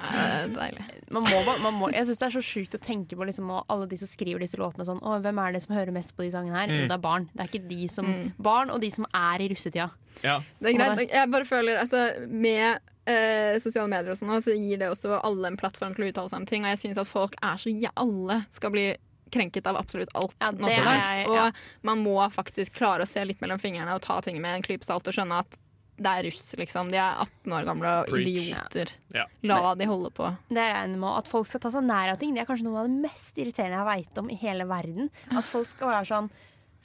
[SPEAKER 5] Ja, det er deilig.
[SPEAKER 4] man må, ba- man må, Jeg syns det er så sjukt å tenke på liksom, og alle de som skriver disse låtene sånn Å, hvem er det som hører mest på de sangene her?
[SPEAKER 2] Mm.
[SPEAKER 4] Jo, det er barn. Det er ikke de som Barn og de som er i russetida.
[SPEAKER 2] ja.
[SPEAKER 5] Det er
[SPEAKER 4] Og
[SPEAKER 5] greit. Jeg bare føler altså, Med eh, sosiale medier og sånn, nå, så gir det også alle en plattform til å uttale seg om ting. Og jeg syns at folk er så ja, Alle skal bli krenket av absolutt alt
[SPEAKER 4] Ja, det
[SPEAKER 5] nå til
[SPEAKER 4] er
[SPEAKER 5] dags.
[SPEAKER 4] jeg-
[SPEAKER 5] Og
[SPEAKER 4] ja.
[SPEAKER 5] man må faktisk klare å se litt mellom fingrene og ta ting med en klype salt og skjønne at det er russ, liksom. De er 18 år gamle og
[SPEAKER 2] Preach.
[SPEAKER 5] idioter.
[SPEAKER 2] Ja.
[SPEAKER 5] La de holde på.
[SPEAKER 4] Det er jeg enig med. At folk skal ta seg nær av ting, det er kanskje noe av det mest irriterende jeg veit om i hele verden. At folk skal være sånn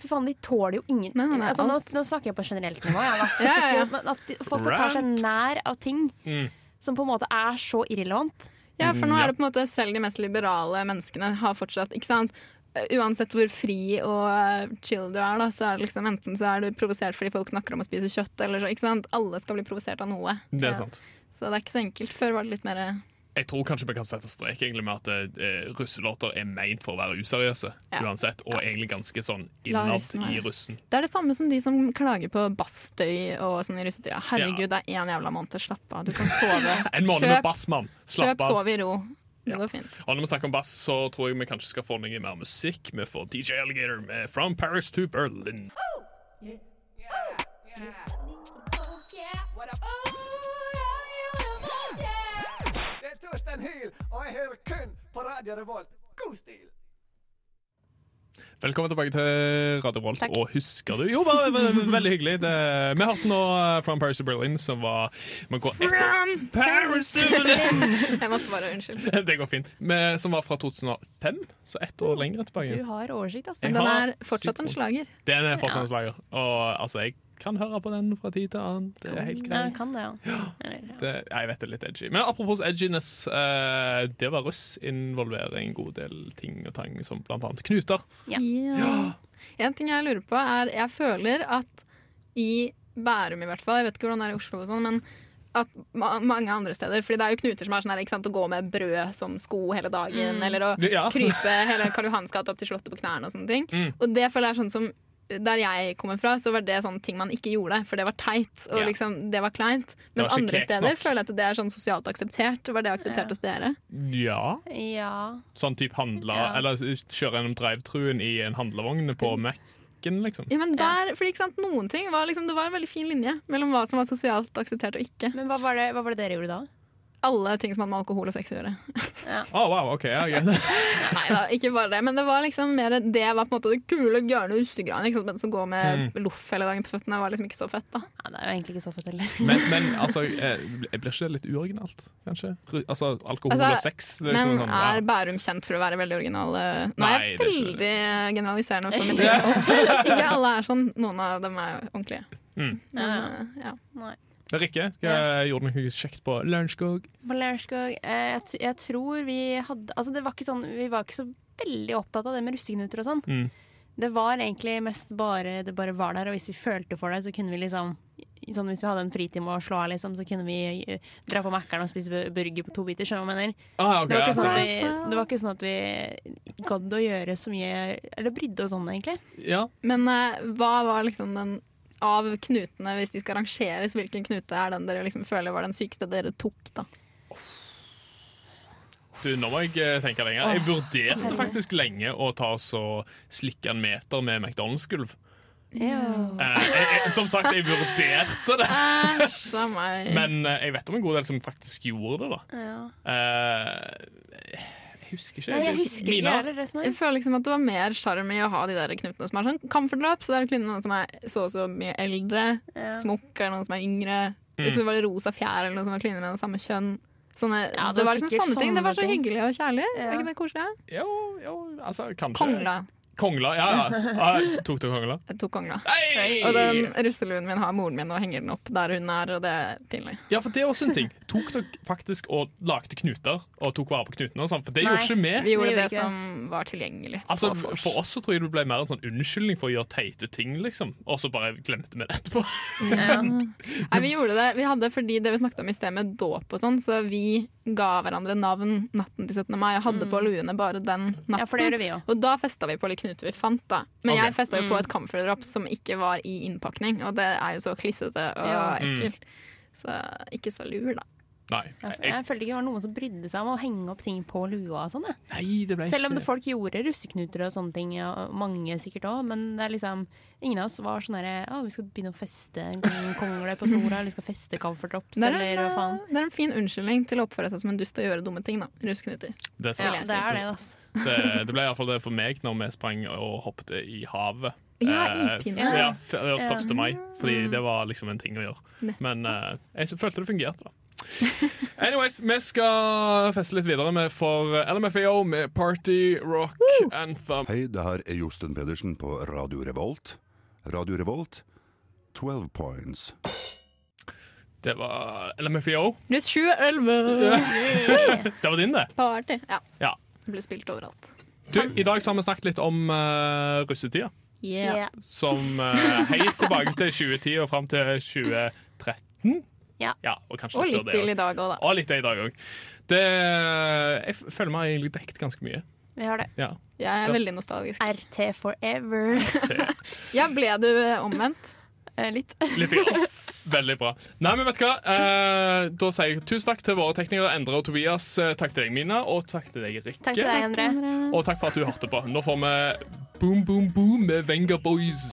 [SPEAKER 4] Fy faen, de tåler jo ingen
[SPEAKER 5] Nei, nei, nei,
[SPEAKER 4] altså, nå, nå snakker jeg på generelt nivå. Jeg, da.
[SPEAKER 5] Ja, ja, ja.
[SPEAKER 4] Ikke- men At de- folk skal ta seg
[SPEAKER 2] Rant.
[SPEAKER 4] nær av ting
[SPEAKER 2] Mm.
[SPEAKER 4] som på en måte er så irrelevant.
[SPEAKER 5] Ja, for nå
[SPEAKER 2] Ja.
[SPEAKER 5] er det på en måte selv de mest liberale menneskene har fortsatt ikke sant? Eh, Uansett hvor fri og eh, chill du er, da, så er det liksom enten så er du provosert fordi folk snakker om å spise kjøtt, eller så, ikke sant? Alle skal bli provosert av noe.
[SPEAKER 2] Det er
[SPEAKER 4] Ja.
[SPEAKER 2] sant.
[SPEAKER 5] Så det er ikke så enkelt. Før var det litt mer eh,
[SPEAKER 2] Jeg tror kanskje vi kan sette strek egentlig med at eh, russelåter er meint for å være useriøse.
[SPEAKER 5] Ja.
[SPEAKER 2] uansett, Og egentlig ganske sånn
[SPEAKER 5] La
[SPEAKER 2] innad
[SPEAKER 5] russen være.
[SPEAKER 2] i russen.
[SPEAKER 5] Det er det samme som de som klager på bassstøy og sånn i russetida. Herregud, det er én jævla måned. Slapp av, du kan sove.
[SPEAKER 2] En måned med
[SPEAKER 5] Kjøp,
[SPEAKER 2] bass, mann! Slapp
[SPEAKER 5] kjøp
[SPEAKER 2] av.
[SPEAKER 5] sove i ro. Det går fint.
[SPEAKER 2] Og når vi snakker om bass, så tror jeg vi kanskje skal få noe mer musikk. Vi får DJ Alligator med From Paris to Berlin.
[SPEAKER 8] Det er Torstein Hyl, og jeg hører kun på Radio Revolt. God stil!
[SPEAKER 2] Velkommen tilbake til Radio Volt.
[SPEAKER 4] Takk.
[SPEAKER 2] Og husker du Jo, bare, ve- ve- veldig hyggelig. Det, vi hørte nå eh, From Paris to Berlin, som var Vi går etter Paris to Berlin!
[SPEAKER 5] Jeg måtte bare unnskyld.
[SPEAKER 2] Det går fint. Vi- som var fra 2005, så ett år lenger
[SPEAKER 4] Du
[SPEAKER 2] tilbake.
[SPEAKER 4] har oversikt, altså.
[SPEAKER 2] Jeg
[SPEAKER 5] Den
[SPEAKER 2] har
[SPEAKER 5] er fortsatt en
[SPEAKER 2] sykt-
[SPEAKER 5] slager.
[SPEAKER 2] Den er fortsatt en slager. Og altså, jeg kan høre på den fra tid til annen. Det er helt
[SPEAKER 4] Ja,
[SPEAKER 2] greit.
[SPEAKER 4] jeg kan det, ja. Eller, ja.
[SPEAKER 2] Det, ja, jeg vet det er litt edgy. Men apropos edginess. Eh, det var russ involverer en god del ting og tang, som blant annet knuter.
[SPEAKER 4] Ja.
[SPEAKER 5] En ting jeg lurer på er Jeg føler at i Bærum i hvert fall, jeg vet ikke hvordan det er i Oslo og sånn, men at ma mange andre steder Fordi det er jo knuter som er sånn her, ikke sant, å gå med brød som sko hele dagen, eller å
[SPEAKER 2] Ja. Mm.
[SPEAKER 5] krype hele Karl Johans gate opp til Slottet på knærne og sånne ting. Og det føler jeg er sånn som der jeg kommer fra, så var det sånne ting man ikke gjorde, for det var teit. Og
[SPEAKER 2] Ja.
[SPEAKER 5] liksom, det var kleint. Men
[SPEAKER 2] var ikke
[SPEAKER 5] andre
[SPEAKER 2] kekt
[SPEAKER 5] steder
[SPEAKER 2] nok.
[SPEAKER 5] føler jeg at det er sånn sosialt akseptert. Var det akseptert hos dere?
[SPEAKER 2] Ja.
[SPEAKER 4] ja.
[SPEAKER 2] Sånn type handla
[SPEAKER 4] Ja.
[SPEAKER 2] Eller kjøre gjennom drive-truen i en handlevogn på Mac-en, liksom.
[SPEAKER 5] Ja, men der, fordi, ikke sant, Noen ting var liksom, Det var en veldig fin linje mellom hva som var sosialt akseptert og ikke.
[SPEAKER 4] Men hva var, det, hva var det dere gjorde da?
[SPEAKER 5] Alle ting som hadde med alkohol og sex å gjøre.
[SPEAKER 2] Å, Ah, wow, ok, ja, greit.
[SPEAKER 5] Nei da, ikke bare det. Men det var liksom mer det var på en måte det kule, gærne russegreiene. Ikke sant, men som går med
[SPEAKER 2] Mm.
[SPEAKER 5] loff hele dagen på føttene, var liksom ikke så fett, da.
[SPEAKER 4] Ja, det er jo egentlig ikke så fett heller.
[SPEAKER 2] Men, men altså, eh, blir ikke det litt uoriginalt, kanskje? Ru- Altså, alkohol
[SPEAKER 5] Altså,
[SPEAKER 2] og sex det er
[SPEAKER 5] Men
[SPEAKER 2] liksom sånn, ja.
[SPEAKER 5] er Bærum kjent for å være veldig original? eh? Nå er
[SPEAKER 2] Nei, det
[SPEAKER 5] jeg
[SPEAKER 2] er ikke det.
[SPEAKER 5] veldig generaliserende. Også, men ikke, ikke alle er sånn. Noen av dem er ordentlige.
[SPEAKER 2] Mm.
[SPEAKER 5] Men,
[SPEAKER 4] Ja,
[SPEAKER 5] eh, ja.
[SPEAKER 2] Men Rikke, skal jeg gjorde noe kjekt på Lørenskog?
[SPEAKER 4] På Lørenskog eh, jeg, t- jeg tror vi hadde Altså, det var ikke sånn Vi var ikke så veldig opptatt av det med russeknuter og sånn.
[SPEAKER 2] Mm.
[SPEAKER 4] Det var egentlig mest bare det bare var der, og hvis vi følte for det, så kunne vi liksom Sånn Hvis vi hadde en fritime å slå av, liksom, så kunne vi eh, dra på Mækkern og spise bu- burger på to biter. Skjønner du hva jeg mener?
[SPEAKER 2] Ah, ok,
[SPEAKER 4] Det var,
[SPEAKER 2] ja,
[SPEAKER 4] ikke sånn at
[SPEAKER 2] sant.
[SPEAKER 4] vi, det var ikke sånn at vi gadd å gjøre så mye Eller brydde oss om det, egentlig.
[SPEAKER 2] ja.
[SPEAKER 5] Men eh, hva var liksom den av knutene, hvis de skal rangeres, hvilken knute er den dere liksom føler var den sykeste dere tok? da?
[SPEAKER 2] Du, nå må jeg eh, tenke lenger. Jeg vurderte faktisk lenge å ta oss og slikke en meter med McDonald's-gulv. Eh, jeg- jeg- som sagt, jeg vurderte det.
[SPEAKER 5] Æsj a meg.
[SPEAKER 2] Men eh, jeg vet om en god del som faktisk gjorde det, da.
[SPEAKER 4] Ja.
[SPEAKER 2] Eh, jeg husker ikke.
[SPEAKER 4] Nei, jeg husker ikke
[SPEAKER 2] Mina?
[SPEAKER 4] heller det som er.
[SPEAKER 5] Jeg føler liksom at det var mer sjarm i å ha de der knutene som er sånn comfort løp. Så det er liksom noen som er så og så mye eldre,
[SPEAKER 4] Ja.
[SPEAKER 5] smokk er noen som er yngre.
[SPEAKER 2] Mm.
[SPEAKER 5] Hvis det var det rosa fjær eller noe som var kline med det samme kjønn. Sånne,
[SPEAKER 4] Ja, det
[SPEAKER 5] det,
[SPEAKER 4] var
[SPEAKER 5] var liksom
[SPEAKER 4] sikkert
[SPEAKER 5] sånne ting. Det var så
[SPEAKER 4] sånne ting.
[SPEAKER 5] hyggelig og kjærlig.
[SPEAKER 4] Ja.
[SPEAKER 5] Var ikke det koselig?
[SPEAKER 2] Jo, jo, altså kanskje
[SPEAKER 5] Kongla.
[SPEAKER 2] Kongla, ja, ja. Ah, tok du kongla?
[SPEAKER 5] Jeg tok kongla.
[SPEAKER 2] Hei!
[SPEAKER 5] Og den russeluen min har moren min og henger den opp der hun er, og det er pinlig.
[SPEAKER 2] Ja, for det er også en ting. Tok dere faktisk og lagde knuter og tok vare på knutene? og sånn? For det
[SPEAKER 4] Nei.
[SPEAKER 2] gjorde ikke vi.
[SPEAKER 5] Vi gjorde
[SPEAKER 4] gjorde
[SPEAKER 5] det
[SPEAKER 4] ikke.
[SPEAKER 5] som var tilgjengelig. på
[SPEAKER 2] Altså,
[SPEAKER 5] vors.
[SPEAKER 2] for oss så tror jeg det ble mer en sånn unnskyldning for å gjøre teite ting, liksom. Og så bare glemte vi det etterpå.
[SPEAKER 5] Nei, vi gjorde det. Vi hadde, fordi det vi snakket om i sted med dåp og sånn, så vi ga hverandre navn natten til 17. mai og hadde på luene bare den natten.
[SPEAKER 4] Mm. Ja, for det gjorde vi Mm. òg.
[SPEAKER 5] Og da festa vi på litt knuter vi fant, da. Men
[SPEAKER 2] Ok.
[SPEAKER 5] jeg festa jo på et kamferdrap som ikke var i innpakning, og det er jo så klissete og
[SPEAKER 4] Ja.
[SPEAKER 2] Mm.
[SPEAKER 5] ekkelt. Så ikke så lur, da.
[SPEAKER 2] Nei.
[SPEAKER 4] Jeg,
[SPEAKER 2] Jeg,
[SPEAKER 4] jeg følte ikke det var noen som brydde seg om å henge opp ting på lua og sånn. jeg.
[SPEAKER 2] nei, det ble
[SPEAKER 4] Selv om det
[SPEAKER 2] ikke
[SPEAKER 4] folk gjorde russeknuter og sånne ting, og mange sikkert òg, men det er liksom Ingen av oss var sånn herre Å, vi skal begynne å feste en kong- kongle på Sola, eller vi skal feste Camphordrops,
[SPEAKER 5] Det er,
[SPEAKER 4] eller hva
[SPEAKER 5] en, eh,
[SPEAKER 4] faen.
[SPEAKER 5] det er en fin unnskyldning til å oppføre seg som en dust og gjøre dumme ting, da. Rusknuter.
[SPEAKER 2] det, er
[SPEAKER 4] Ja,
[SPEAKER 2] sant.
[SPEAKER 4] det er det, altså.
[SPEAKER 2] det, det ble iallfall det for meg når vi sprang og hoppet i havet.
[SPEAKER 5] Ja,
[SPEAKER 2] Eh,
[SPEAKER 5] ispinne.
[SPEAKER 2] Ja,
[SPEAKER 4] Ja.
[SPEAKER 2] f- ja, 1. mai, fordi det var liksom en ting å gjøre.
[SPEAKER 5] Nettopp.
[SPEAKER 2] Men eh, jeg s- følte det fungerte, da. Anyways, vi skal feste litt videre. Vi får eh, LMFAO med Party Rock Anthem.
[SPEAKER 9] Hei, det her er Josten Pedersen på Radio Revolt. Radio Revolt, 12 points.
[SPEAKER 2] Det var LMFAO.
[SPEAKER 5] Pluss 7-11!
[SPEAKER 2] Det var din, det.
[SPEAKER 5] Party. Ja.
[SPEAKER 2] Ja.
[SPEAKER 5] Det ble spilt overalt.
[SPEAKER 2] Du, I dag så har vi snakket litt om eh, russetida.
[SPEAKER 5] Yeah.
[SPEAKER 2] Som eh, helt tilbake til 2010 og fram til 2013.
[SPEAKER 4] Ja.
[SPEAKER 2] og kanskje
[SPEAKER 5] Og
[SPEAKER 2] litt før det
[SPEAKER 5] litt til
[SPEAKER 2] også.
[SPEAKER 5] i dag òg, da.
[SPEAKER 2] Og litt til i dag òg. Jeg f- føler meg egentlig dekket ganske mye.
[SPEAKER 4] Vi har det.
[SPEAKER 2] Ja.
[SPEAKER 5] Jeg
[SPEAKER 2] Ja.
[SPEAKER 5] er veldig nostalgisk.
[SPEAKER 4] RT forever.
[SPEAKER 5] Ja, ble du eh, omvendt?
[SPEAKER 4] Eh, Litt.
[SPEAKER 2] Litt grann. Veldig bra. Nei, men vet du hva? Eh, da sier jeg tusen takk til våre teknikere Endre og Tobias. Eh, Takk til deg, Mina, og takk til deg, Rikke.
[SPEAKER 4] Takk til deg, Endre.
[SPEAKER 2] Og takk for at du hørte på. Nå får vi Boom Boom Boom med Venga Boys.